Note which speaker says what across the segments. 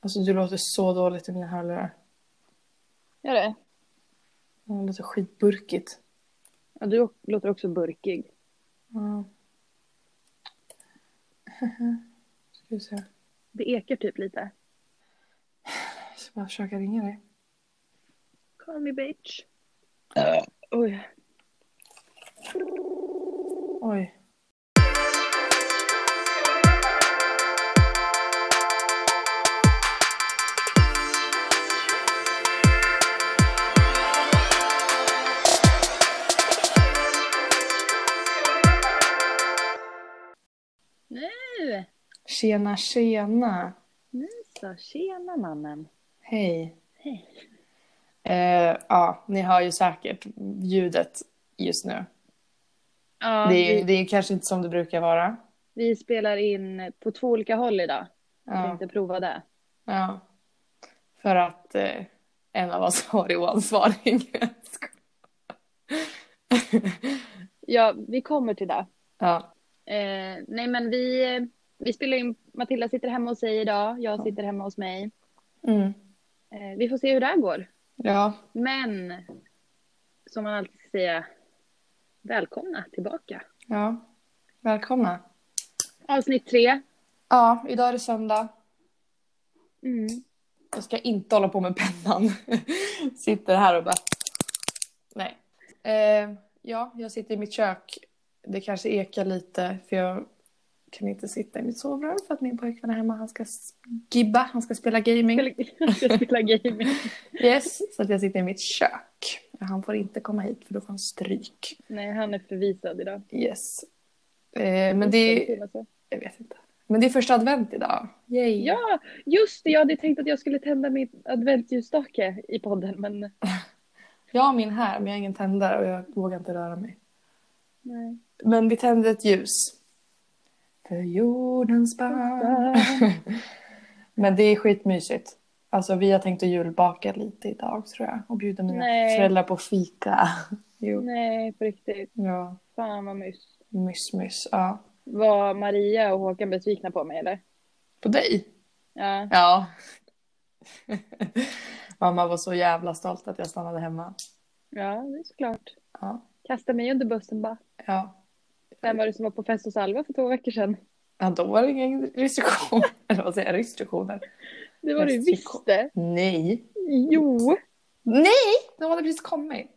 Speaker 1: Alltså du låter så dåligt i mina hörlurar.
Speaker 2: Gör det?
Speaker 1: Det låter skitburkigt.
Speaker 2: Ja, du å- låter också burkig.
Speaker 1: Ja. Ska vi se.
Speaker 2: Det ekar typ lite.
Speaker 1: Jag ska bara försöka ringa dig.
Speaker 2: Call me bitch. Oj.
Speaker 1: Oj.
Speaker 2: Nu!
Speaker 1: Tjena, tjena.
Speaker 2: Så, tjena mannen.
Speaker 1: Hej.
Speaker 2: Hej.
Speaker 1: Eh, ja, ni hör ju säkert ljudet just nu.
Speaker 2: Ja,
Speaker 1: det, är, ju-
Speaker 2: vi,
Speaker 1: det är ju kanske inte som det brukar vara.
Speaker 2: vi spelar in på två olika håll idag. Jag
Speaker 1: Ja,
Speaker 2: tänkte prova det.
Speaker 1: ja. För att eh, en av oss har oansvarig.
Speaker 2: Ja, vi kommer till det.
Speaker 1: ja,
Speaker 2: Eh, nej, men vi, vi spelar in. Matilda sitter hemma hos sig idag. Jag sitter hemma hos mig.
Speaker 1: mm.
Speaker 2: Eh, vi får se hur det här går.
Speaker 1: ja,
Speaker 2: Men som man alltid ska säga, välkomna tillbaka.
Speaker 1: ja. Välkomna.
Speaker 2: Avsnitt tre.
Speaker 1: Ja, idag är det söndag.
Speaker 2: Mm.
Speaker 1: Jag ska inte hålla på med pennan. sitter här och bara... Nej. Eh, ja, jag sitter i mitt kök. Det kanske ekar lite för jag kan inte sitta i mitt sovrum för att min pojkvän är hemma. Han ska s- gibba, han ska spela gaming.
Speaker 2: Mm. Jag ska spela gaming.
Speaker 1: Yes, så att jag sitter i mitt kök. Han får inte komma hit för då får han stryk.
Speaker 2: Nej, han är förvisad idag.
Speaker 1: Yes. Eh, men det är... Jag vet inte. Men det är första advent idag. Yay.
Speaker 2: Ja, just det. Jag hade tänkt att jag skulle tända mitt adventsljusstake i podden, men
Speaker 1: Jag har min här men jag har ingen tändare och jag vågar inte röra mig.
Speaker 2: nej.
Speaker 1: Men vi tände ett ljus. För jordens barn.
Speaker 2: Ah,
Speaker 1: Men det är skitmysigt. Alltså vi har tänkt att julbaka lite idag tror jag. Och bjuda mina
Speaker 2: Nej.
Speaker 1: föräldrar på fika. Jo.
Speaker 2: Nej, på riktigt.
Speaker 1: Ja,
Speaker 2: Fan vad mys.
Speaker 1: mys mys. Ja.
Speaker 2: Var Maria och Håkan besvikna på mig eller?
Speaker 1: På dig?
Speaker 2: Ja.
Speaker 1: Ja. Mamma var så jävla stolt att jag stannade hemma.
Speaker 2: Ja, det är såklart.
Speaker 1: Ja.
Speaker 2: Kasta mig under bussen bara.
Speaker 1: Ja.
Speaker 2: Vem var det som var på fest hos Alva för två veckor sedan?
Speaker 1: ja då var det ingen restriktion. Eller vad säger jag? Restriktioner?
Speaker 2: Det var du
Speaker 1: Fest i
Speaker 2: visst det.
Speaker 1: Nej.
Speaker 2: Jo.
Speaker 1: Nej! De hade precis kommit.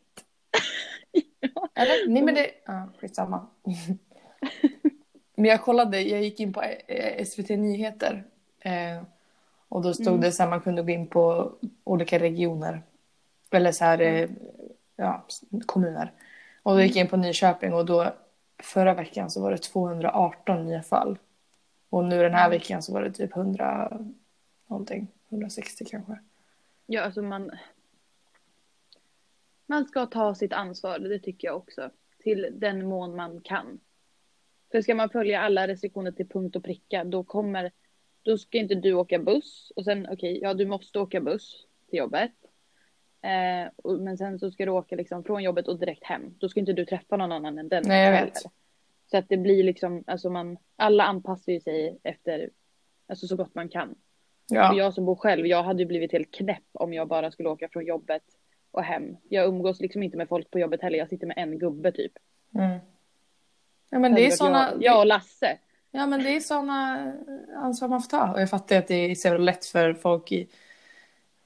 Speaker 1: Eller? Nej men det... Ja, skitsamma. men jag kollade, jag gick in på eh, SVT Nyheter. eh, Och då stod
Speaker 2: Mm.
Speaker 1: det så här, man kunde gå in på olika regioner. Eller så här, eh, ja, s- kommuner. Och då gick jag in på Nyköping och då förra veckan så var det 218 nya fall. Och nu den här veckan så var det typ 100 någonting, 160 kanske.
Speaker 2: Ja, alltså man... Man ska ta sitt ansvar, det tycker jag också. Till den mån man kan. För ska man följa alla restriktioner till punkt och pricka, då kommer... Då ska inte du åka buss. Och sen, okej, ja du måste åka buss till jobbet. Eh, och, men sen så ska du åka liksom från jobbet och direkt hem. Då ska inte du träffa någon annan än den.
Speaker 1: Nej, jag
Speaker 2: heller.
Speaker 1: vet.
Speaker 2: Så att det blir liksom, alltså man... Alla anpassar ju sig efter, alltså så gott man kan.
Speaker 1: Ja.
Speaker 2: Och jag som bor själv, jag hade ju blivit helt knäpp om jag bara skulle åka från jobbet och hem. Jag umgås liksom inte med folk på jobbet heller, jag sitter med en gubbe typ.
Speaker 1: Mm. Ja, men det är
Speaker 2: Hellre att
Speaker 1: såna,
Speaker 2: Jag, jag
Speaker 1: ja.
Speaker 2: och Lasse.
Speaker 1: men det är såna eh, ansvar man får ta. Och jag fattar att det är så jävla lätt för folk i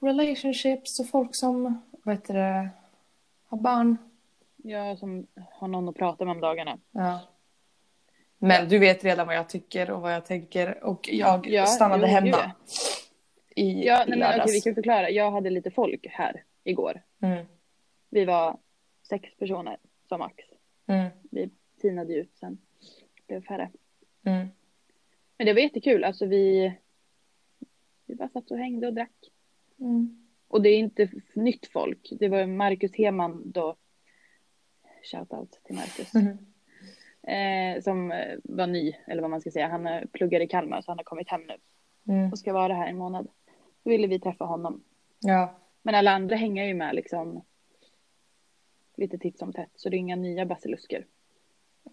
Speaker 1: relationships och folk som vad heter det, har barn.
Speaker 2: Jag som har någon att prata med om dagarna.
Speaker 1: Ja. Men du vet redan vad jag tycker och vad jag tänker. Och jag
Speaker 2: Ja,
Speaker 1: stannade
Speaker 2: jo,
Speaker 1: hemma
Speaker 2: gud,
Speaker 1: i
Speaker 2: Ja, nej, men, okej,
Speaker 1: lördags.
Speaker 2: vi kan förklara. Jag hade lite folk här igår.
Speaker 1: Mm.
Speaker 2: Vi var sex personer som max.
Speaker 1: Mm.
Speaker 2: Vi tinade ju ut sen. Blev färre.
Speaker 1: Mm.
Speaker 2: Men det var jättekul. Alltså vi... Vi bara satt och hängde och drack.
Speaker 1: Mm.
Speaker 2: Och det är inte f- nytt folk. Det var Marcus Heman då. Shoutout till Marcus.
Speaker 1: Mhm.
Speaker 2: Eh, som eh, var ny, eller vad man ska säga. Han eh, pluggar i Kalmar så han har kommit hem nu.
Speaker 1: Mm.
Speaker 2: Och ska vara här en månad. Då ville vi träffa honom.
Speaker 1: Ja.
Speaker 2: Men alla andra hänger ju med liksom. Lite titt som tätt. Så det är inga nya basilusker.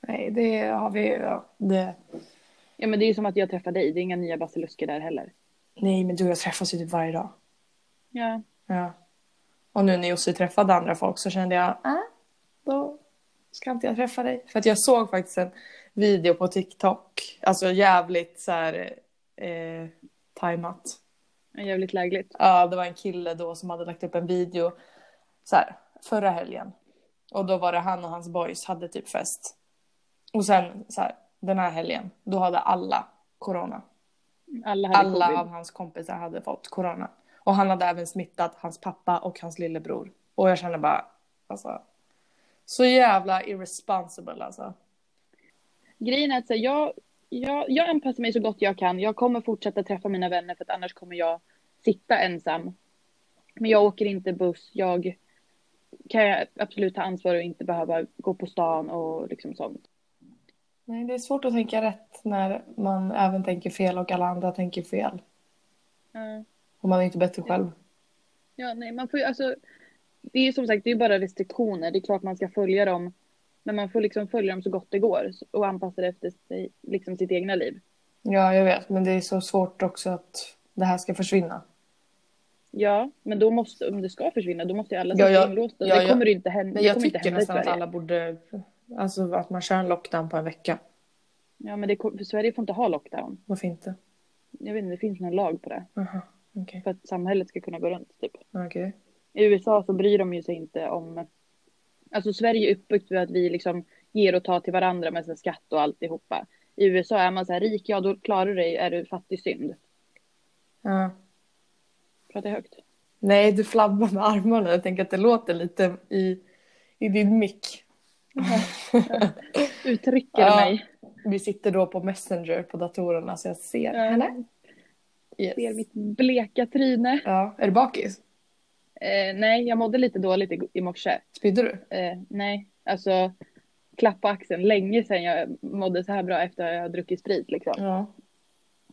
Speaker 1: Nej, det har vi. Ja, det.
Speaker 2: Ja men det är ju som att jag träffar dig. Det är inga nya basilusker där heller.
Speaker 1: Nej men du och jag träffas ju typ varje dag.
Speaker 2: Ja.
Speaker 1: Ja. Och nu när Jussi träffade andra folk så kände jag, äh, då ska inte jag träffa dig. För att jag såg faktiskt en video på TikTok, alltså jävligt så här eh, tajmat.
Speaker 2: Jävligt lägligt.
Speaker 1: Ja, det var en kille då som hade lagt upp en video så här, förra helgen. Och då var det han och hans boys hade typ fest. Och sen så här, den här helgen, då hade alla corona.
Speaker 2: Alla hade
Speaker 1: Alla
Speaker 2: covid.
Speaker 1: av hans kompisar hade fått corona. Och han hade även smittat hans pappa och hans lillebror. Och jag känner bara, alltså. Så jävla irresponsible alltså.
Speaker 2: Grejen är att så här, jag, jag, jag anpassar mig så gott jag kan. Jag kommer fortsätta träffa mina vänner för att annars kommer jag sitta ensam. Men jag åker inte buss. Jag kan jag absolut ta ansvar och inte behöva gå på stan och liksom sånt.
Speaker 1: Nej, det är svårt att tänka rätt när man även tänker fel och alla andra tänker fel.
Speaker 2: Ja.
Speaker 1: Och man är inte bättre själv.
Speaker 2: Ja, nej, man får ju alltså. Det är ju som sagt, det är ju bara restriktioner. Det är klart man ska följa dem. Men man får liksom följa dem så gott det går och anpassa det efter sig, liksom sitt egna liv.
Speaker 1: Ja, jag vet. Men det är så svårt också att det här ska försvinna.
Speaker 2: Ja, men då måste, om det ska försvinna, då måste ju alla
Speaker 1: Ja,
Speaker 2: sitta
Speaker 1: ja.
Speaker 2: inlåsta.
Speaker 1: Ja,
Speaker 2: det
Speaker 1: ja.
Speaker 2: kommer ju inte hända.
Speaker 1: Men
Speaker 2: det
Speaker 1: jag
Speaker 2: kommer inte
Speaker 1: tycker
Speaker 2: hända i
Speaker 1: nästan att
Speaker 2: Sverige.
Speaker 1: alla borde... Alltså att man kör en lockdown på en vecka.
Speaker 2: Ja, men det, kom- för Sverige får inte ha lockdown.
Speaker 1: Varför inte?
Speaker 2: Jag vet inte, det finns någon lag på det.
Speaker 1: Jaha, okej.
Speaker 2: För att samhället ska kunna gå runt, typ.
Speaker 1: Okej.
Speaker 2: I USA så bryr de ju sig inte om... Alltså Sverige är uppbyggt för att vi liksom ger och tar till varandra med sin skatt och alltihopa. I USA är man så här rik, ja då klarar du dig. Är du fattig, synd.
Speaker 1: Ja.
Speaker 2: Pratar jag högt?
Speaker 1: Nej, du flabbar med armarna. Jag tänker att det låter lite i, i din mick.
Speaker 2: Uttrycker
Speaker 1: Ja.
Speaker 2: mig.
Speaker 1: Vi sitter då på Messenger på datorerna så jag ser
Speaker 2: Ja.
Speaker 1: henne. Yes.
Speaker 2: Ser mitt bleka tryne.
Speaker 1: Ja. Är du bakis?
Speaker 2: Eh, nej, jag mådde lite dåligt i, i morse.
Speaker 1: Spydde du?
Speaker 2: Eh, nej, alltså klapp på axeln. Länge sedan jag mådde så här bra efter att jag har druckit sprit liksom.
Speaker 1: Ja.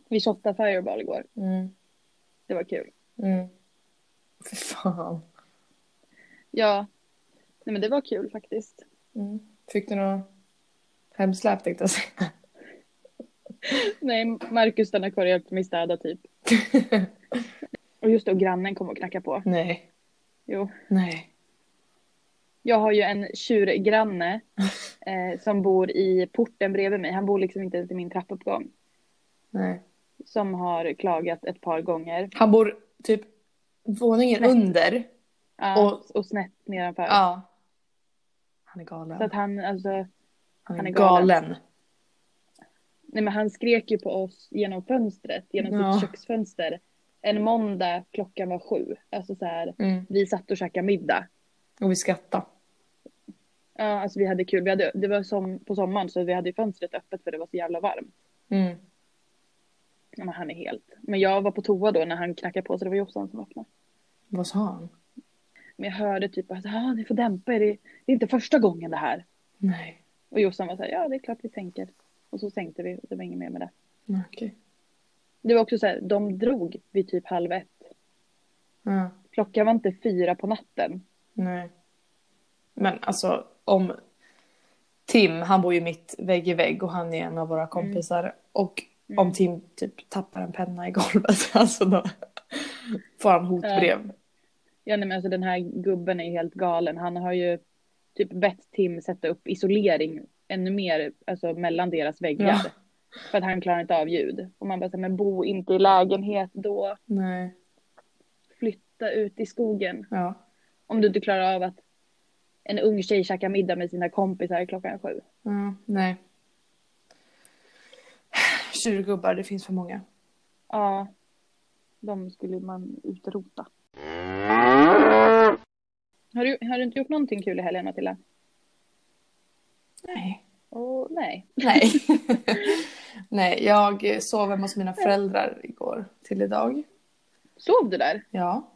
Speaker 2: Vi shottade Fireball igår.
Speaker 1: Mm.
Speaker 2: Det var kul.
Speaker 1: Mm. Fy fan.
Speaker 2: Ja. Nej men det var kul faktiskt.
Speaker 1: Mm. Fick du något hemsläp tänkte jag säga.
Speaker 2: Nej, Marcus stannar kvar och hjälpte mig städa typ. och just då grannen kom och knackade på.
Speaker 1: Nej.
Speaker 2: Jo.
Speaker 1: Nej.
Speaker 2: Jag har ju en tjurgranne eh, som bor i porten bredvid mig. Han bor liksom inte ens i min trappuppgång.
Speaker 1: Nej.
Speaker 2: Som har klagat ett par gånger.
Speaker 1: Han bor typ våningen
Speaker 2: Nej.
Speaker 1: under.
Speaker 2: Ja,
Speaker 1: Och-
Speaker 2: och, snett nedanför.
Speaker 1: Ja. Han är
Speaker 2: Så att
Speaker 1: galen.
Speaker 2: han alltså.
Speaker 1: Han är,
Speaker 2: han är
Speaker 1: galen.
Speaker 2: galen. Nej men han skrek ju på oss genom fönstret, genom
Speaker 1: Ja.
Speaker 2: sitt köksfönster. En måndag klockan var sju. Alltså så här,
Speaker 1: Mm.
Speaker 2: vi satt och käkade middag.
Speaker 1: Och vi skrattar.
Speaker 2: Ja, alltså vi hade kul. Vi hade, det var som på sommaren så vi hade ju fönstret öppet för det var så jävla varmt.
Speaker 1: Mm.
Speaker 2: Ja, men han är helt. Men jag var på toa då när han knackade på så det var Jossan som öppnade.
Speaker 1: Vad sa han?
Speaker 2: Men jag hörde typ att ah, ni får dämpa er, det det är inte första gången det här.
Speaker 1: Nej.
Speaker 2: Och Jossan var så här, ja det är klart vi sänker. Och så sänkte vi och det var inget mer med det.
Speaker 1: Okej. Okay.
Speaker 2: Det var också så här, de drog vid typ halv ett.
Speaker 1: Ja.
Speaker 2: Klockan var inte fyra på natten.
Speaker 1: Nej. Men alltså om Tim, han bor ju mitt vägg i vägg och han är en av våra kompisar. Och
Speaker 2: Mm.
Speaker 1: om Tim typ tappar en penna i golvet, alltså då får han hotbrev.
Speaker 2: Ja, nej, men alltså den här gubben är ju helt galen. Han har ju typ bett Tim sätta upp isolering ännu mer, alltså mellan deras väggar.
Speaker 1: Ja.
Speaker 2: För att han klarar inte av ljud. Och man bara så här, men bo inte i lägenhet då.
Speaker 1: Nej.
Speaker 2: Flytta ut i skogen.
Speaker 1: Ja.
Speaker 2: Om du inte klarar av att en ung tjej käkar middag med sina kompisar klockan sju.
Speaker 1: Mm, nej. Tjurgubbar, det finns för många.
Speaker 2: Ja, de skulle man utrota. Har du, har du inte gjort någonting kul i helgen, Matilda?
Speaker 1: Nej.
Speaker 2: Åh, nej.
Speaker 1: Nej. nej, jag sov hemma hos mina föräldrar igår till idag.
Speaker 2: Sov du där?
Speaker 1: Ja.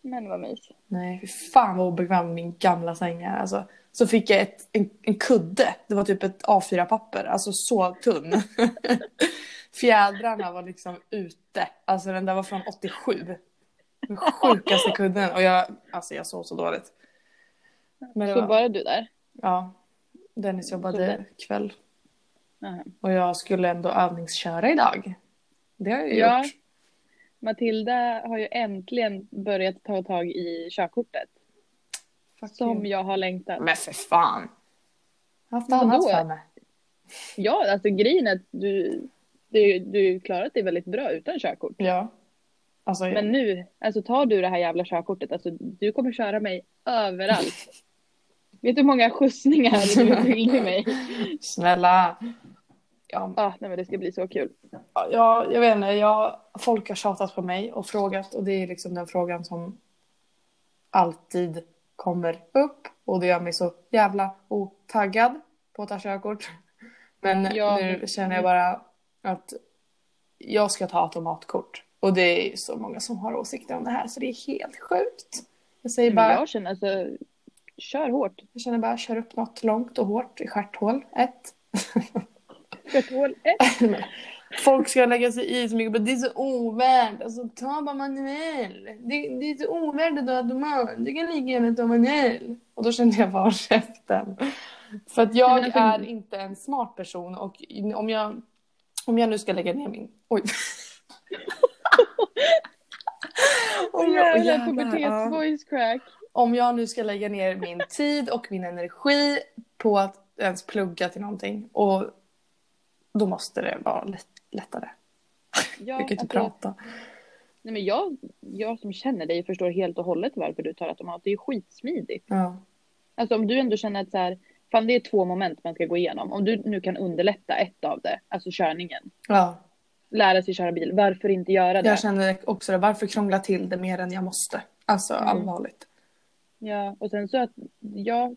Speaker 2: Men vad mys.
Speaker 1: Nej, fy fan vad obekväm min gamla säng är. Alltså, så fick jag ett, en, en kudde. Det var typ ett A4-papper. Alltså så tunn. Fjädrarna var liksom ute. Alltså den där var från 87. Den sjukaste kudden. Och jag, alltså jag sov så dåligt. Men det
Speaker 2: Så
Speaker 1: var,
Speaker 2: bara du där?
Speaker 1: ja, Dennis jobbade kväll.
Speaker 2: Jaha.
Speaker 1: Och jag skulle ändå övningsköra idag. Det har jag ju
Speaker 2: Ja.
Speaker 1: gjort.
Speaker 2: Matilda har ju äntligen börjat ta tag i körkortet.
Speaker 1: Fuck
Speaker 2: Som
Speaker 1: you.
Speaker 2: jag har längtat.
Speaker 1: Men för fan. Jag har haft
Speaker 2: Vadå?
Speaker 1: annat för mig.
Speaker 2: Ja, alltså grejen är att du, du, du klarat dig väldigt bra utan körkort.
Speaker 1: Ja. Alltså,
Speaker 2: Men nu, alltså tar du det här jävla körkortet, alltså du kommer köra mig överallt. Vet du hur många skjutsningar du är skyldig mig?
Speaker 1: snälla. Ja,
Speaker 2: Ah, nej men det ska bli så kul.
Speaker 1: ja, jag vet inte. Jag, folk har tjatat på mig och frågat. Och det är liksom den frågan som alltid kommer upp. Och det gör mig så jävla otaggad på att ta körkort. Men
Speaker 2: Ja.
Speaker 1: nu känner jag bara att jag ska ta automatkort. Och det är så många som har åsikter om det här så det är helt sjukt. Jag säger bara,
Speaker 2: Men jag känner alltså, kör hårt.
Speaker 1: jag känner bara kör upp något långt och hårt i stjärthål ett.
Speaker 2: Kör till hål ett.
Speaker 1: Folk ska lägga sig i så mycket. Det är så ovärt. Alltså, ta bara manuell. Det, det är så ovärt att du har automat. Du kan lika gärna ta manuell. Och då kände jag bara käften. För att jag
Speaker 2: Men alltså-
Speaker 1: är inte en smart person. Och om jag, om jag nu ska lägga ner min... Oj. om, jag,
Speaker 2: Jävla
Speaker 1: jävlar, ja.
Speaker 2: pubertets-voice crack.
Speaker 1: om jag nu ska lägga ner min tid och min energi på att ens plugga till någonting. Och då måste det vara lätt, lättare.
Speaker 2: Ja,
Speaker 1: Jag kan inte
Speaker 2: alltså,
Speaker 1: prata.
Speaker 2: Nej, men jag, jag som känner dig förstår helt och hållet varför du tar automat. Det är ju skitsmidigt.
Speaker 1: Ja.
Speaker 2: Alltså om du ändå känner att så här, fan det är två moment man ska gå igenom. Om du nu kan underlätta ett av det, alltså körningen.
Speaker 1: ja.
Speaker 2: Lära sig köra bil, varför inte göra det?
Speaker 1: Jag känner också det, varför krångla till det mer än jag måste? Alltså
Speaker 2: Mm.
Speaker 1: allvarligt.
Speaker 2: Ja, och sen så att, ja.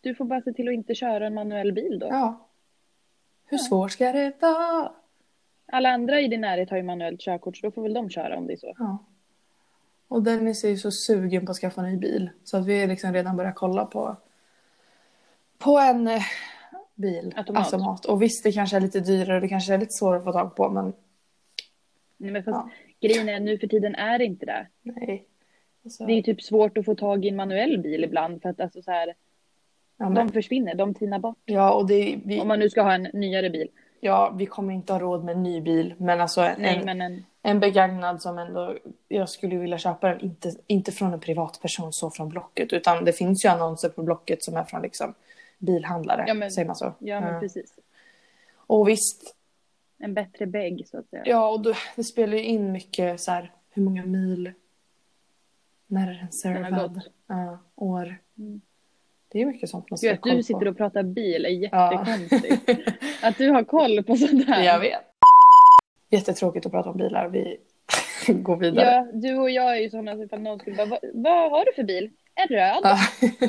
Speaker 2: Du får bara se till att inte köra en manuell bil då.
Speaker 1: Ja. Hur svårt ska det vara?
Speaker 2: Alla andra i din närhet har ju manuellt körkort så då får väl de köra om det är så.
Speaker 1: Ja. Och Dennis är ju så sugen på att skaffa en ny bil. Så att vi har liksom redan börjat kolla på, på en eh, bil.
Speaker 2: Automat.
Speaker 1: Och visst, det kanske är lite dyrare och det kanske är lite svårare att få tag på. Men
Speaker 2: Nej, men fast
Speaker 1: Ja.
Speaker 2: grejen är nu för tiden är det inte det.
Speaker 1: nej. Alltså,
Speaker 2: Det är typ svårt att få tag i en manuell bil ibland för att alltså så här,
Speaker 1: ja, men-
Speaker 2: de försvinner, de tinar bort.
Speaker 1: ja, och det, vi,
Speaker 2: Om man nu ska ha en nyare bil.
Speaker 1: ja, vi kommer inte ha råd med en ny bil. Men alltså en,
Speaker 2: Nej men en,
Speaker 1: En begagnad som ändå, jag skulle vilja köpa den, inte, inte från en privatperson så från Blocket, utan det finns ju annonser på Blocket som är från liksom bilhandlare,
Speaker 2: Ja, men-
Speaker 1: säger man så?
Speaker 2: ja men
Speaker 1: Ja.
Speaker 2: precis.
Speaker 1: Och visst,
Speaker 2: En bättre bägg så att säga.
Speaker 1: ja och då, det spelar ju in mycket så här, hur många mil, när är den
Speaker 2: har
Speaker 1: servad,
Speaker 2: gått.
Speaker 1: ja, år.
Speaker 2: Mm.
Speaker 1: Det är mycket sånt man
Speaker 2: Gud,
Speaker 1: ska
Speaker 2: att du sitter och pratar bil är
Speaker 1: Ja.
Speaker 2: jättekonstigt. Att du har koll på sånt här.
Speaker 1: Jag vet. Jättetråkigt att prata om bilar, vi går vidare.
Speaker 2: Ja, du och jag är ju sådana som ifall någon skulle bara, vad, vad har du för bil? En röd?
Speaker 1: Ja.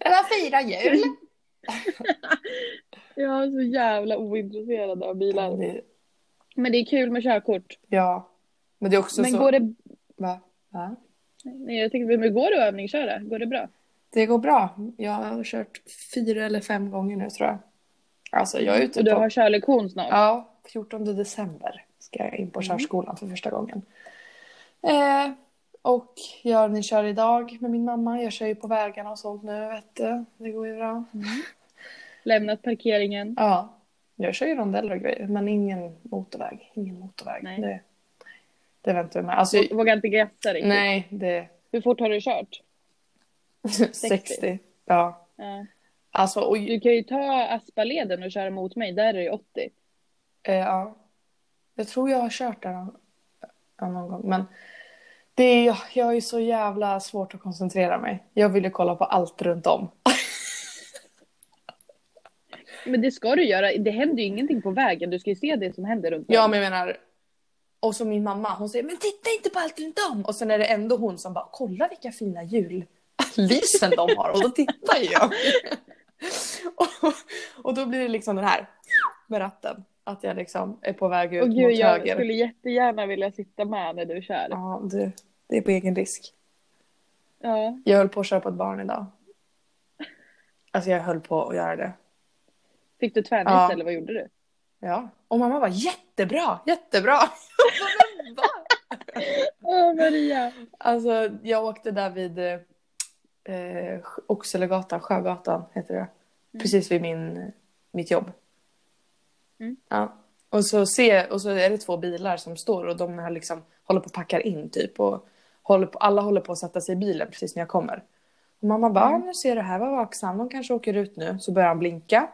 Speaker 1: Den har fyra hjul.
Speaker 2: Jag är så jävla ointresserad av bilar.
Speaker 1: Det-
Speaker 2: Men det är kul med körkort.
Speaker 1: Ja. Men det är också
Speaker 2: men
Speaker 1: så...
Speaker 2: går det,
Speaker 1: Va? Va?
Speaker 2: nej, jag tänkte, men går det att övningsköra? Går det bra?
Speaker 1: Det går bra. Jag har kört fyra eller fem gånger nu tror jag. Alltså jag är ute
Speaker 2: Och du
Speaker 1: på...
Speaker 2: har körlektion snart?
Speaker 1: Ja, 14 december ska jag in på
Speaker 2: Mm.
Speaker 1: körskolan för första gången. Eh, och jag övningskör idag med min mamma. Jag kör ju på vägarna och sånt nu vet du. Det går ju bra.
Speaker 2: Mm. Lämnat parkeringen?
Speaker 1: Ja, jag kör ju rondeller och grejer men ingen motorväg. Ingen motorväg.
Speaker 2: Nej.
Speaker 1: Det, det väntar vi med. Alltså,
Speaker 2: Vågar inte greppa riktigt?
Speaker 1: nej, det...
Speaker 2: Hur fort har du kört?
Speaker 1: 60. Ja.
Speaker 2: Ja.
Speaker 1: Alltså, och...
Speaker 2: Du kan ju ta Aspaleden och köra mot mig, där är det 80.
Speaker 1: Eh, ja. Jag tror jag har kört där någon, ja, någon gång. Men det är, jag är så jävla svårt att koncentrera mig. Jag vill ju kolla på allt runt om.
Speaker 2: Men det ska du göra, det händer ju ingenting på vägen, du ska ju se det som händer runt
Speaker 1: Ja,
Speaker 2: om.
Speaker 1: men jag menar. Och som min mamma, hon säger men titta inte på allt runt om. Och sen är det ändå hon som bara kolla vilka fina jullysen de har. Och då tittar ju jag. och, och då blir det liksom den här med ratten. Att jag liksom är på väg ut
Speaker 2: Och gud,
Speaker 1: mot
Speaker 2: jag
Speaker 1: höger.
Speaker 2: skulle jättegärna vilja sitta med när du kör. Ja.
Speaker 1: Ja, det, det är på egen risk. Jag höll på att köra på ett barn idag. Alltså jag höll på att göra det.
Speaker 2: Fick du tvärnit
Speaker 1: Ja.
Speaker 2: eller vad gjorde du?
Speaker 1: Ja. Och mamma var jättebra, jättebra.
Speaker 2: Åh Maria!
Speaker 1: Alltså jag åkte där vid eh, Oxelegatan, Sjögatan heter det. Precis vid min, mitt jobb.
Speaker 2: Mm.
Speaker 1: Ja. Och så, se, och så är det två bilar som står och de har liksom, håller på att packar in typ. Och håller på, alla håller på att sätta sig i bilen precis när jag kommer. Och mamma bara, "Ah,
Speaker 2: Mm.
Speaker 1: nu ser du här, var vaksam, de kanske åker ut nu. Så börjar han blinka.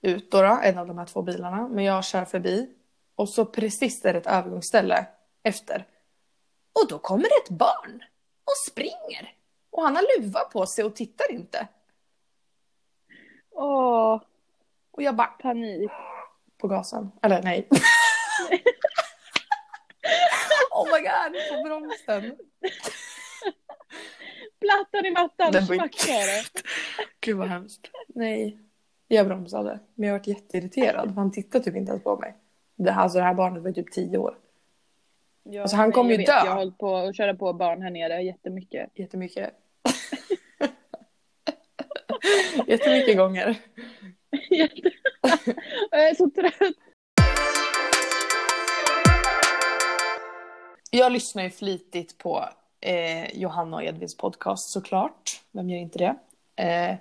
Speaker 1: Ut då, då en av de här två bilarna. Men jag kör förbi. Och så precis är det ett övergångsställe efter. Och då kommer det ett barn och springer. Och han har luva på sig och tittar inte.
Speaker 2: Åh,
Speaker 1: Och jag bara,
Speaker 2: panik.
Speaker 1: på gasen. Eller nej. oh my god, på bromsen.
Speaker 2: Plattan i
Speaker 1: Den
Speaker 2: mattan, Den
Speaker 1: var
Speaker 2: fuck
Speaker 1: inte-
Speaker 2: är det.
Speaker 1: Gud vad hemskt. Nej. Jag bromsade. Men jag vart jätteirriterad. för Han tittade typ inte ens på mig. Det här, alltså det här barnet var ju typ tio år.
Speaker 2: Ja,
Speaker 1: Alltså, han
Speaker 2: nej,
Speaker 1: kommer
Speaker 2: jag
Speaker 1: ju
Speaker 2: vet.
Speaker 1: dö.
Speaker 2: Jag har hållit på att köra på barn här nere jättemycket.
Speaker 1: Jättemycket. Jättemycket gånger.
Speaker 2: Jätte... jag är så trött.
Speaker 1: Jag lyssnar ju flitigt på eh, Johanna och Edvins podcast såklart. Vem gör inte det? Eh,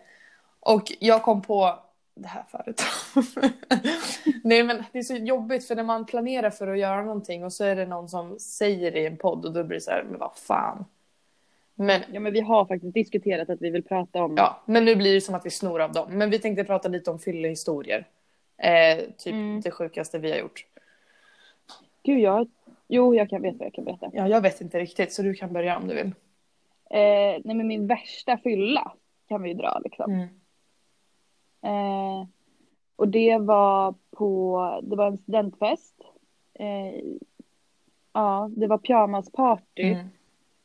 Speaker 1: och jag kom på det här förut. Nej men det är så jobbigt för när man planerar för att göra någonting och så är det någon som säger det i en podd och då blir det så här, men vad fan. Men,
Speaker 2: Ja, men vi har faktiskt diskuterat att vi vill prata om
Speaker 1: ja, men nu blir det som att vi snor av dem. Men vi tänkte prata lite om fyllehistorier. Eh, typ
Speaker 2: Mm.
Speaker 1: det sjukaste vi har gjort.
Speaker 2: Gud, jag... Jo, jag kan veta vad jag kan berätta.
Speaker 1: Ja, jag vet inte riktigt så du kan börja om du vill.
Speaker 2: Eh, nej, men min värsta fylla kan vi ju dra liksom.
Speaker 1: Mm.
Speaker 2: Eh, och det var på... Det var en studentfest. Eh, ja, det var pyjamasparty.
Speaker 1: Mm.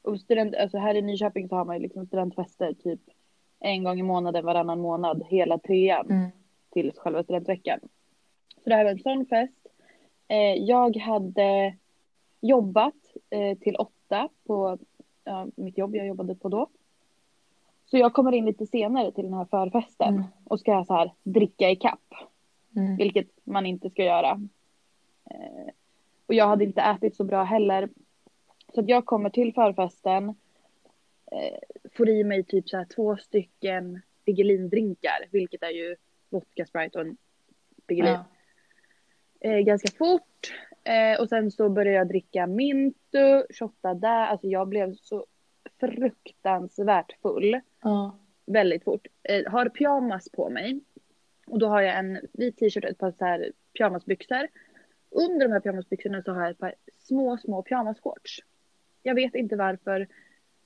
Speaker 2: Och student, alltså här i Nyköping så har man ju liksom studentfester typ en gång i månaden, varannan månad, hela trean
Speaker 1: Mm.
Speaker 2: till själva studentveckan. Så det här var en sån fest. Eh, jag hade jobbat eh, till åtta på ja, mitt jobb jag jobbade på då. Så jag kommer in lite senare till den här förfesten
Speaker 1: Mm.
Speaker 2: och ska så här dricka i kapp,
Speaker 1: Mm.
Speaker 2: vilket man inte ska göra. Eh, och jag hade inte ätit så bra heller. Så att jag kommer till förfesten, eh, får i mig typ så här två stycken Piggelindrinkar, vilket är ju vodka, Sprite och en Piggelin
Speaker 1: Ja.
Speaker 2: eh, ganska fort. Eh, och sen så började jag dricka Mintu, shotta där. Alltså jag blev så fruktansvärt full
Speaker 1: Ja.
Speaker 2: väldigt fort. Eh, har pyjamas på mig. Och då har jag en vit t-shirt och ett par så här pyjamasbyxor. Under de här pyjamasbyxorna så har jag ett par små, små pyjamasshorts. Jag vet inte varför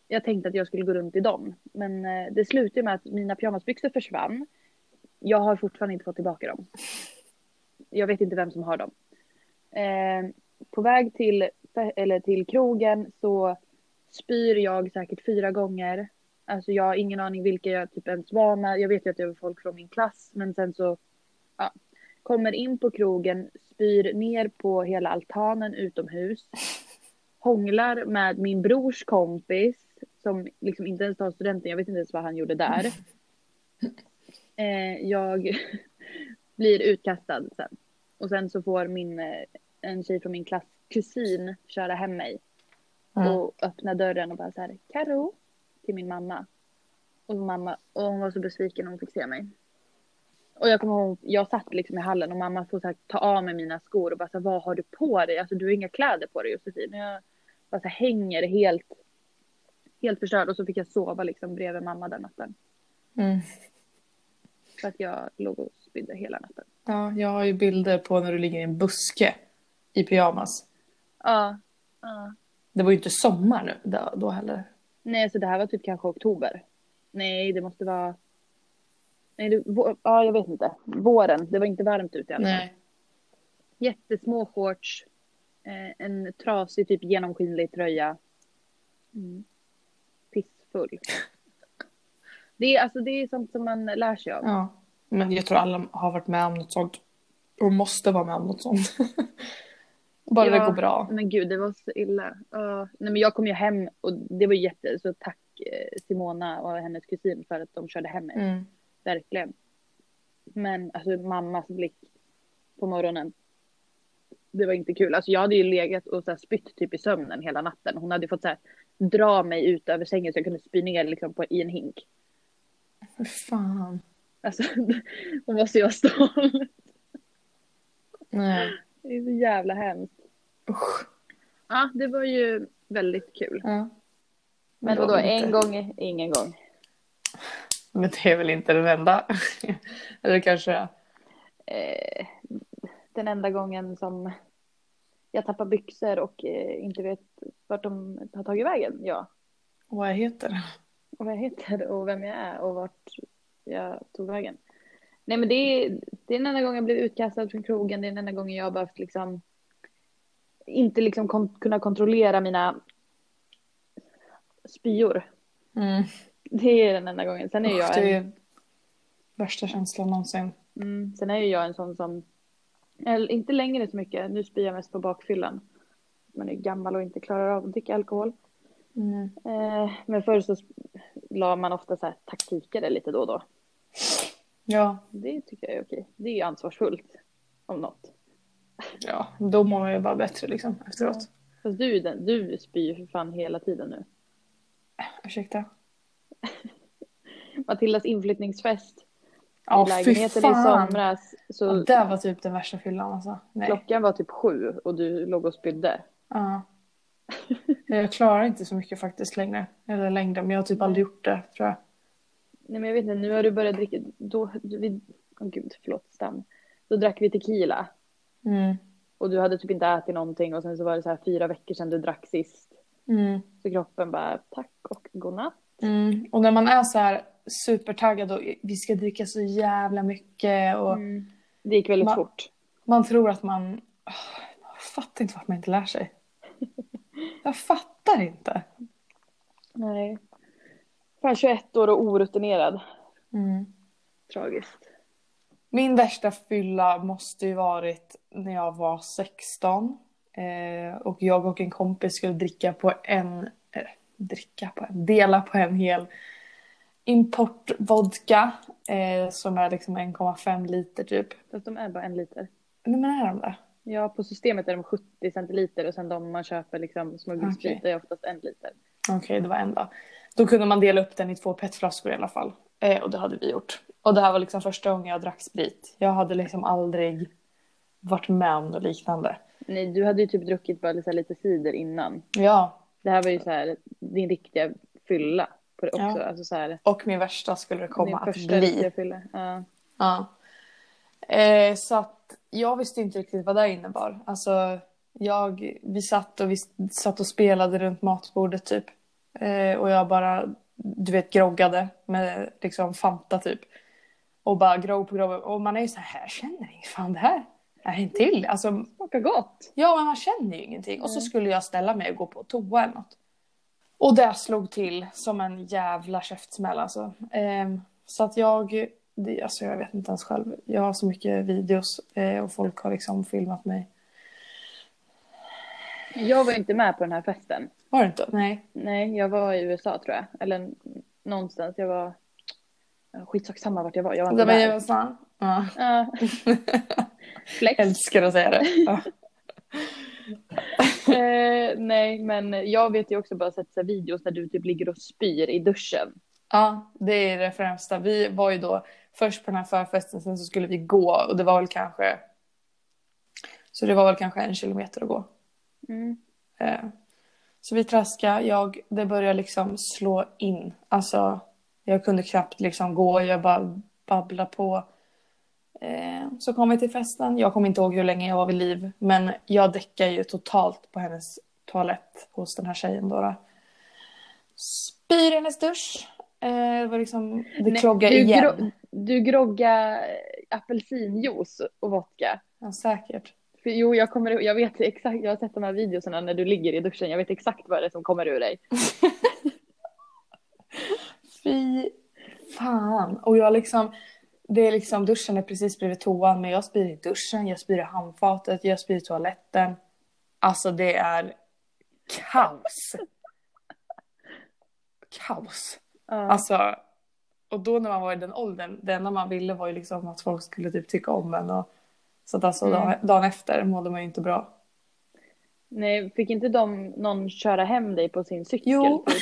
Speaker 2: jag tänkte att jag skulle gå runt i dem. Men eh, det slutade med att mina pyjamasbyxor försvann. Jag har fortfarande inte fått tillbaka dem. Jag vet inte vem som har dem. Eh, på väg till, eller till krogen så spyr jag säkert fyra gånger. Alltså jag har ingen aning vilka jag typ ens var med. Jag vet ju att det var folk från min klass. Men sen så ja, kommer in på krogen, spyr ner på hela altanen utomhus. Hånglar med min brors kompis som liksom inte ens tar studenten. Jag vet inte ens vad han gjorde där. Eh, jag blir utkastad sen. Och sen så får min, eh, en tjej från min klass kusin köra hem mig
Speaker 1: Mm.
Speaker 2: och öppna dörren och bara så här, Karo, till min mamma. Och mamma, och hon var så besviken när hon fick se mig. Och jag kommer ihåg, jag satt liksom i hallen och mamma får så här, ta av mig mina skor och bara så här, vad har du på dig? Alltså du har inga kläder på dig Josefin. Och jag bara så här, hänger helt, helt förstörd och så fick jag sova liksom bredvid mamma den natten.
Speaker 1: Mm.
Speaker 2: För att jag låg och spydde hela natten.
Speaker 1: Ja, jag har ju bilder på när du ligger i en buske i pyjamas.
Speaker 2: Ja. ja.
Speaker 1: Det var ju inte sommar nu då, då heller.
Speaker 2: Nej, så det här var typ kanske oktober. Nej, det måste vara... Nej, det... vå- Ja, jag vet inte. Våren. Det var inte varmt ute i alla fall. Jättesmå shorts. Eh, en trasig, typ genomskinlig tröja. Mm. Pissfull. Det är, alltså, det är sånt som man lär sig av.
Speaker 1: Ja. Men jag tror alla har varit med om något sånt. Och måste vara med om något sånt. Bara det
Speaker 2: Ja,
Speaker 1: går bra.
Speaker 2: Men gud, det var så illa. Ja. nej, men jag kom ju hem och det var jätte... Så tack eh, Simona och hennes kusin för att de körde hem mig.
Speaker 1: Mm.
Speaker 2: Verkligen. Men alltså mammas blick på morgonen. Det var inte kul. Alltså jag hade ju legat och så här spytt typ i sömnen hela natten. Hon hade fått så här dra mig ut över sängen så jag kunde spy ner liksom på, i en hink.
Speaker 1: Fy Fan.
Speaker 2: Alltså hon var så jag stolt.
Speaker 1: Nej.
Speaker 2: Det är så jävla hemskt.
Speaker 1: Usch.
Speaker 2: Ja, det var ju väldigt kul.
Speaker 1: Ja.
Speaker 2: Men
Speaker 1: det var
Speaker 2: vadå,
Speaker 1: väl inte-
Speaker 2: en gång är ingen gång.
Speaker 1: Men det är väl inte den enda. Eller kanske det är.
Speaker 2: Eh, den enda gången som jag tappar byxor och eh, inte vet vart de har tagit vägen. Ja.
Speaker 1: vad jag heter.
Speaker 2: och vad jag heter och vem jag är och vart jag tog vägen. Nej men det är, det är den enda gången jag blev utkastad från krogen, det är den enda gången jag har behövt liksom inte liksom kon- kunna kontrollera mina spyor.
Speaker 1: Mm.
Speaker 2: Det är den enda gången. Sen är,
Speaker 1: Usch,
Speaker 2: jag
Speaker 1: det
Speaker 2: en,
Speaker 1: är värsta känslan någonsin.
Speaker 2: mm, sen är ju jag en sån som, eller inte längre så mycket, nu spyr jag mest på bakfyllan. Man är gammal och inte klarar av att dricka alkohol.
Speaker 1: Mm.
Speaker 2: Eh, men förr så sp- la man ofta så här taktiker lite då och då.
Speaker 1: Ja,
Speaker 2: Det tycker jag är okej. Det är ju ansvarsfullt. Om något.
Speaker 1: ja, då mår man ju bara bättre liksom efteråt.
Speaker 2: Fast du, är ju den, du spyr ju för fan hela tiden nu.
Speaker 1: Ursäkta.
Speaker 2: Matildas inflyttningsfest
Speaker 1: Ja,
Speaker 2: i
Speaker 1: fy
Speaker 2: lägenheten i
Speaker 1: fan.
Speaker 2: somras.
Speaker 1: Ja,
Speaker 2: Så
Speaker 1: det var typ den värsta fyllan alltså. Nej.
Speaker 2: klockan var typ sju och du låg och spydde.
Speaker 1: Ja. Jag klarar inte så mycket faktiskt längre. Eller längre, men jag har typ aldrig gjort det tror jag.
Speaker 2: Nej men jag vet inte, nu har du börjat dricka. Då, vi, åh gud, förlåt stam. Då drack vi tequila.
Speaker 1: Mm.
Speaker 2: Och du hade typ inte ätit någonting och sen så var det så här fyra veckor sedan du drack sist.
Speaker 1: Mm.
Speaker 2: Så kroppen bara tack och godnatt.
Speaker 1: Mm. Och när man är så här supertaggad och vi ska dricka så jävla mycket och
Speaker 2: Mm. Det gick väldigt
Speaker 1: Ma-
Speaker 2: fort.
Speaker 1: man tror att man... Åh, Jag fattar inte varför man inte lär sig. Jag fattar inte.
Speaker 2: Nej. Fan 21 år och orutinerad.
Speaker 1: Mm.
Speaker 2: Tragiskt.
Speaker 1: Min värsta fylla måste ju varit när jag var 16. Eh, och jag och en kompis skulle dricka på en... Eh, dricka på en? Dela på en hel importvodka. Eh, som är liksom 1,5 liter typ.
Speaker 2: Fast de är bara en liter.
Speaker 1: Nej men är de det?
Speaker 2: Ja, på systemet är de 70 centiliter och sen de man köper liksom smuggelsprit
Speaker 1: Okej.
Speaker 2: är oftast en liter.
Speaker 1: Okej, det var en då. Då kunde man dela upp den i två petflaskor i alla fall. Eh, och det hade vi gjort. Och det här var liksom första gången jag drack sprit. Jag hade liksom aldrig varit med om något liknande.
Speaker 2: Nej, du hade ju typ druckit bara lite, lite cider innan.
Speaker 1: Ja,
Speaker 2: Det här var ju så här din riktiga fylla på det också.
Speaker 1: Ja.
Speaker 2: Alltså så här,
Speaker 1: och min värsta skulle det komma
Speaker 2: din
Speaker 1: att
Speaker 2: första riktiga
Speaker 1: bli.
Speaker 2: fylla. Ja.
Speaker 1: Ja. Eh, så att jag visste inte riktigt vad det innebar. Alltså, jag, vi satt och, vi satt och spelade runt matbordet typ. Eh, och jag bara, du vet, groggade med liksom Fanta typ. Och bara grogg på grogg. Och man är ju så här, jag känner inget fan det här. Är en till. Alltså,
Speaker 2: Smakar gott!
Speaker 1: Ja, men man känner ju ingenting. Och så
Speaker 2: Mm.
Speaker 1: skulle jag ställa mig och gå på toa eller något. Och det slog till som en jävla käftsmäll alltså. Ehm, så att jag, det, alltså jag vet inte ens själv. Jag har så mycket videos eh, och folk har liksom filmat mig.
Speaker 2: Jag var ju inte med på den här festen.
Speaker 1: Var det inte? Nej.
Speaker 2: Nej, jag var i USA tror jag. Eller någonstans. Jag var... Skitsak samma vart jag var. Jag var
Speaker 1: Det
Speaker 2: inte
Speaker 1: var
Speaker 2: där.
Speaker 1: jag sån. Ja.
Speaker 2: Ja. Flex.
Speaker 1: Älskar att säga det. Ja.
Speaker 2: Eh, nej, men jag vet ju också bara sett så här videos där du typ ligger och spyr i duschen.
Speaker 1: ja, det är det främsta. Vi var ju då först på den här förfesten, sen så skulle vi gå och det var väl kanske... Så det var väl kanske en kilometer att gå.
Speaker 2: Mm.
Speaker 1: Eh, Så vi traskade, jag, det började liksom slå in. Alltså, jag kunde knappt liksom gå, jag bara babblade på. Eh, Så kom vi till festen, jag kommer inte ihåg hur länge jag var vid liv, men jag däckade ju totalt på hennes toalett hos den här tjejen då. då. Spyr i hennes dusch. Eh, Det var liksom, det
Speaker 2: Nej,
Speaker 1: kloggade
Speaker 2: du
Speaker 1: igen.
Speaker 2: gro- du groggar eh, apelsinjuice och vodka.
Speaker 1: Ja, säkert.
Speaker 2: För, jo, jag, kommer, jag vet exakt, jag har sett de här videoserna när du ligger i duschen. Jag vet exakt vad det är som kommer ur dig.
Speaker 1: Fy fan. Och jag liksom, det är liksom, duschen är precis bredvid toan men jag spyr i duschen, jag spyr i handfatet, jag spyr i toaletten. Alltså det är kaos. Kaos.
Speaker 2: Ja.
Speaker 1: Alltså, och då när man var i den åldern, det enda man ville var ju liksom att folk skulle typ tycka om en. Och, så att alltså
Speaker 2: Mm.
Speaker 1: dagen, dagen efter mådde man ju inte bra.
Speaker 2: Nej, fick inte de någon köra hem dig på sin cykel?
Speaker 1: Jo.
Speaker 2: typ?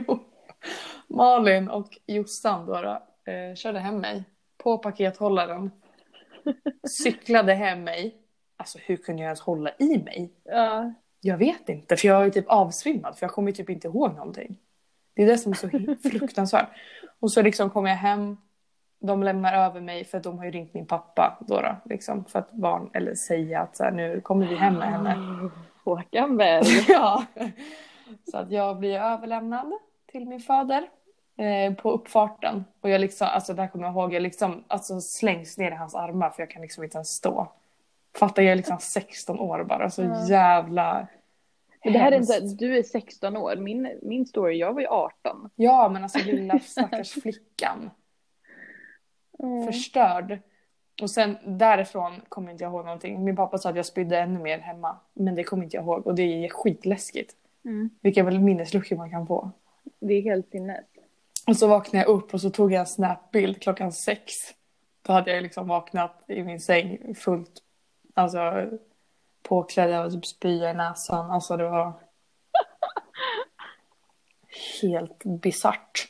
Speaker 1: Jo. Malin och Jossan då, då eh, körde hem mig på pakethållaren. Cyklade hem mig alltså hur kunde jag ens hålla i mig?
Speaker 2: Ja.
Speaker 1: Jag vet inte, för jag är typ avsvimmad, för jag kommer typ inte ihåg någonting. Det är det som är så fruktansvärt. Och så liksom kommer jag hem, de lämnar över mig, för de har ju ringt min pappa då, då liksom, för att barn, eller säga att så här, nu kommer vi hem med henne.
Speaker 2: Håkan Berg.
Speaker 1: Ja. Så att jag blir överlämnad till min fader eh, på uppfarten. Och jag liksom, alltså där kommer jag ihåg, jag liksom alltså slängs ner i hans armar för jag kan liksom inte ens stå. Fattar jag är liksom 16 år bara, så
Speaker 2: Ja.
Speaker 1: jävla
Speaker 2: Men det här är
Speaker 1: hemskt.
Speaker 2: inte, du är 16 år, min, min story, jag var ju 18.
Speaker 1: Ja men alltså lilla stackars flickan,
Speaker 2: Mm.
Speaker 1: förstörd. Och sen därifrån kommer inte jag ihåg någonting. Min pappa sa att jag spydde ännu mer hemma. Men det kommer inte jag ihåg och det är skitläskigt.
Speaker 2: Mm.
Speaker 1: Vilka väl minnesluckor man kan få.
Speaker 2: Det är helt sinnes.
Speaker 1: Och så vaknade jag upp och så tog jag en snapbild klockan sex. Då hade jag ju liksom vaknat i min säng fullt, alltså påklädd, jag var typ spya i näsan. Alltså det var helt bisarrt.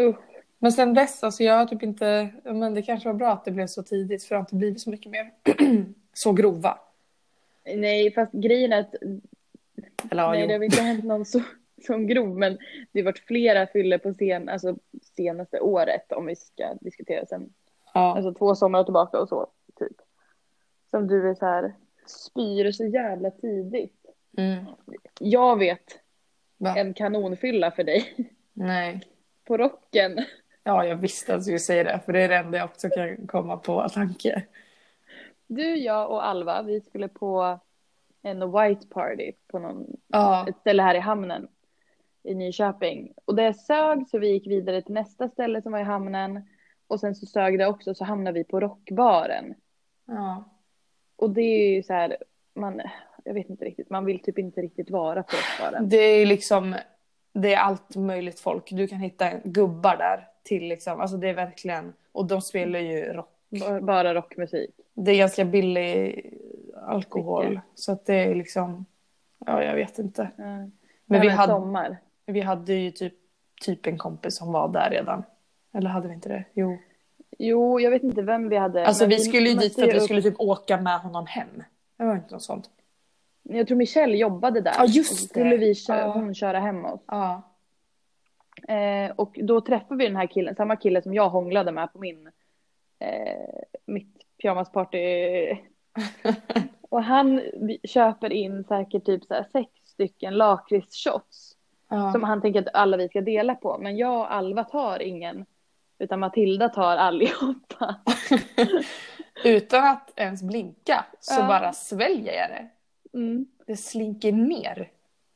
Speaker 2: Usch.
Speaker 1: Men sen dess, alltså jag har typ inte, men det kanske var bra att det blev så tidigt för det har inte blivit så mycket mer så grova.
Speaker 2: Nej, fast grejen är att
Speaker 1: Eller ja,
Speaker 2: nej,
Speaker 1: jo.
Speaker 2: det har inte hänt någon så, som grov, men det har varit flera fyller på sen, alltså, senaste året, om vi ska diskutera sen.
Speaker 1: ja.
Speaker 2: Alltså två somrar tillbaka och så, typ. Som du är så här, spyr så jävla tidigt.
Speaker 1: Mm.
Speaker 2: Jag vet
Speaker 1: Va?
Speaker 2: en kanonfylla för dig,
Speaker 1: Nej.
Speaker 2: på rocken.
Speaker 1: Ja, jag visste att du skulle säga det för det är det enda jag också kan komma på tanke.
Speaker 2: Du, jag och Alva, vi skulle på en white party på någon,
Speaker 1: Ja.
Speaker 2: ett ställe här i hamnen i Nyköping. Och det sög så vi gick vidare till nästa ställe som var i hamnen. Och sen så sög det också så hamnade vi på rockbaren.
Speaker 1: ja.
Speaker 2: Och det är ju så här, man, jag vet inte riktigt, man vill typ inte riktigt vara på rockbaren.
Speaker 1: Det är liksom, det är allt möjligt folk. Du kan hitta en- gubbar där till liksom, alltså det är verkligen, och de spelar ju rock.
Speaker 2: Ba- Bara rockmusik.
Speaker 1: Det är ganska billig alkohol.
Speaker 2: Dricka.
Speaker 1: Så att det är liksom, ja jag vet inte.
Speaker 2: Men
Speaker 1: Men vi hade,
Speaker 2: sommar.
Speaker 1: vi hade ju typ, typ en kompis som var där redan. Eller hade vi inte det? Jo.
Speaker 2: Jo, jag vet inte vem vi hade.
Speaker 1: Alltså
Speaker 2: men
Speaker 1: vi skulle ju dit för att vi
Speaker 2: mötte
Speaker 1: skulle typ åka med honom hem. Det var inte något sånt.
Speaker 2: upp- Jag tror Michelle jobbade där.
Speaker 1: Ja, just
Speaker 2: Och så skulle
Speaker 1: det.
Speaker 2: vi kö-
Speaker 1: Ja.
Speaker 2: hon köra hem oss.
Speaker 1: Ja.
Speaker 2: Eh, och då träffade vi den här killen, samma kille som jag hånglade med på min, eh, mitt pyjamasparty. och han vi- köper in säkert typ så här sex stycken lakritsshots
Speaker 1: ja.
Speaker 2: som han tänker att alla vi ska dela på. Men jag och Alva tar ingen, utan Matilda tar allihopa.
Speaker 1: Utan att ens blinka så
Speaker 2: Ja.
Speaker 1: bara sväljer jag det.
Speaker 2: Mm.
Speaker 1: Det slinker ner.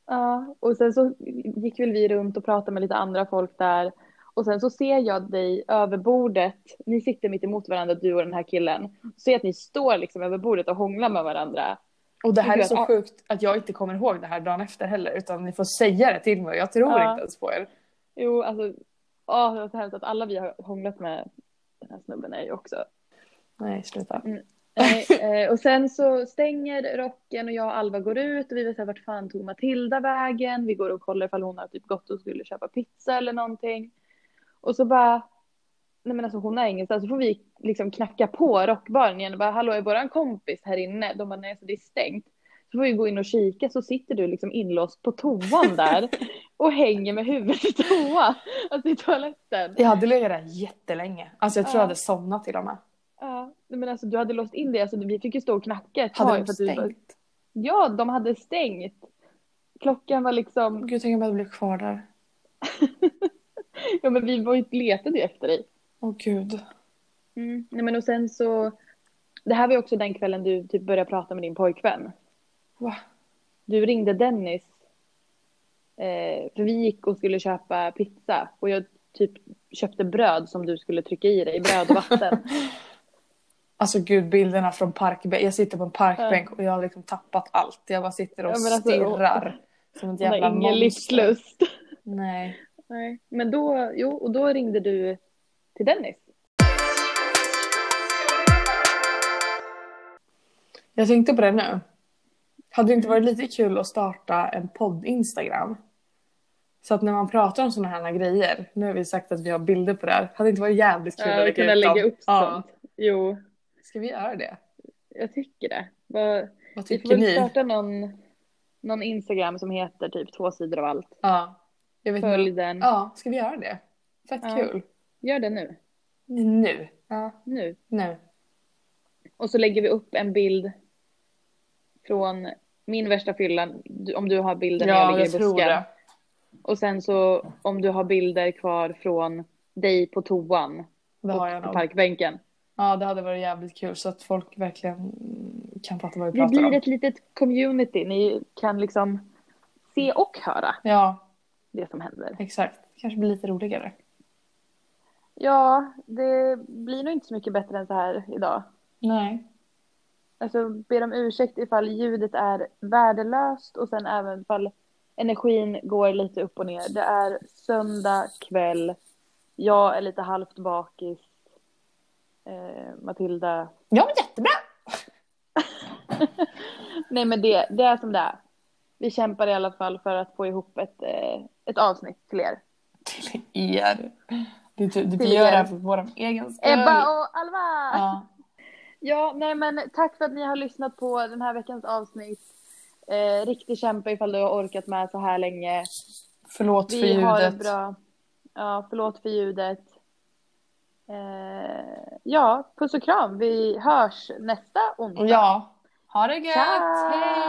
Speaker 2: Ja, och sen så gick väl vi runt och pratade med lite andra folk där. Och sen så ser jag dig över bordet. Ni sitter mitt emot varandra, du och den här killen. Ser att ni står liksom över bordet och hånglar med varandra.
Speaker 1: Och det här är
Speaker 2: Gud,
Speaker 1: så
Speaker 2: ja.
Speaker 1: sjukt att jag inte kommer ihåg det här dagen efter heller utan ni får säga det till mig jag tror
Speaker 2: Ja.
Speaker 1: inte ens på er.
Speaker 2: Jo, alltså. Ja, det var så hemskt att alla vi har hånglat med den här snubben är ju också.
Speaker 1: Nej sluta.
Speaker 2: Nej, eh, och sen så stänger rocken och jag och Alva går ut och vi vet så här, vart fan tog Matilda vägen? Vi går och kollar ifall hon har typ gått och skulle köpa pizza eller någonting. Och så bara, nej men alltså hon är ingenstans. Så får vi liksom knacka på rockbaren igen och bara, hallå är våran kompis här inne? De bara, nej alltså det är stängt. Så får vi gå in och kika så sitter du liksom inlåst på toan där och hänger med huvudet i toa, alltså i toaletten.
Speaker 1: Jag hade legat där jättelänge. Alltså jag tror
Speaker 2: Ja.
Speaker 1: jag hade somnat till och med.
Speaker 2: Ja, nej, men alltså du hade låst in dig, alltså vi fick ju stå och knacka ett
Speaker 1: Hade
Speaker 2: tag
Speaker 1: de
Speaker 2: för att du bara-
Speaker 1: stängt?
Speaker 2: Ja, de hade stängt. Klockan var liksom,
Speaker 1: Gud tänk om jag hade blivit kvar där.
Speaker 2: ja men vi var ju letade ju efter dig.
Speaker 1: Åh gud.
Speaker 2: Mm. Nej men och sen så, det här var ju också den kvällen du typ började prata med din pojkvän.
Speaker 1: Va?
Speaker 2: Du ringde Dennis, eh, för vi gick och skulle köpa pizza och jag typ köpte bröd som du skulle trycka i dig, bröd och vatten.
Speaker 1: Alltså gud bilderna från parkbänken. Jag sitter på en parkbänk och jag har liksom tappat allt. Jag bara sitter och
Speaker 2: Ja, men alltså,
Speaker 1: stirrar. Som ett
Speaker 2: Hon
Speaker 1: jävla
Speaker 2: har ingen
Speaker 1: monster.
Speaker 2: livslust.
Speaker 1: Nej.
Speaker 2: Nej. Men då, jo, och då ringde du till Dennis.
Speaker 1: Jag tänkte på det nu. Hade det inte varit lite kul att starta en podd-instagram? Så att när man pratar om sådana här grejer, nu har vi sagt att vi har bilder på det här, hade det inte varit jävligt kul
Speaker 2: Ja, vi Eh, kunde
Speaker 1: dem?
Speaker 2: lägga upp
Speaker 1: Ja.
Speaker 2: sånt. Jo,
Speaker 1: Ska vi göra det?
Speaker 2: jag tycker det. Vad,
Speaker 1: Vad
Speaker 2: vi får
Speaker 1: tycker
Speaker 2: väl
Speaker 1: ni?
Speaker 2: starta någon, någon Instagram som heter typ två sidor av allt.
Speaker 1: Ja. Jag vet
Speaker 2: Följ
Speaker 1: inte.
Speaker 2: den.
Speaker 1: Mm. Ja, ska vi göra det? Fett
Speaker 2: Ja.
Speaker 1: kul.
Speaker 2: Gör det nu.
Speaker 1: Nu. Ja.
Speaker 2: Nu.
Speaker 1: Nu.
Speaker 2: Och så lägger vi upp en bild från min värsta fylla. du- Om du har bilden när jag
Speaker 1: Ja,
Speaker 2: ligger
Speaker 1: jag
Speaker 2: i
Speaker 1: tror
Speaker 2: busken.
Speaker 1: det.
Speaker 2: Och sen så om du har bilder kvar från dig på toan.
Speaker 1: Det har jag
Speaker 2: på
Speaker 1: nog.
Speaker 2: parkbänken.
Speaker 1: Ja, det hade varit jävligt kul så att folk verkligen mm, kan fatta vad vi
Speaker 2: Vi
Speaker 1: pratar
Speaker 2: blir
Speaker 1: om.
Speaker 2: ett litet community. Ni kan liksom se och höra
Speaker 1: Ja,
Speaker 2: det som händer.
Speaker 1: exakt. Kanske blir lite roligare.
Speaker 2: Ja, det blir nog inte så mycket bättre än så här idag.
Speaker 1: Nej.
Speaker 2: Alltså ber om ursäkt ifall ljudet är värdelöst och sen även ifall energin går lite upp och ner. Det är söndag kväll. Jag är lite halvt bakis. Eh, Matilda.
Speaker 1: Ja, men jättebra!
Speaker 2: Nej men det, det är som det är. Vi kämpar i alla fall för att få ihop ett, eh, ett avsnitt till er.
Speaker 1: Till er. Du, du, du
Speaker 2: Till
Speaker 1: gör
Speaker 2: er.
Speaker 1: det här för vår egen skull.
Speaker 2: Ebba och Alva!
Speaker 1: Ja.
Speaker 2: Ja, nej men tack för att ni har lyssnat på den här veckans avsnitt. Eh, riktig kämpa ifall du har orkat med så här länge.
Speaker 1: Förlåt för
Speaker 2: Vi
Speaker 1: ljudet.
Speaker 2: har det bra. Ja, förlåt för ljudet. Eh, ja, puss och kram. Vi hörs nästa onsdag.
Speaker 1: Ja. Ha det gött!
Speaker 2: Ciao!
Speaker 1: Hej!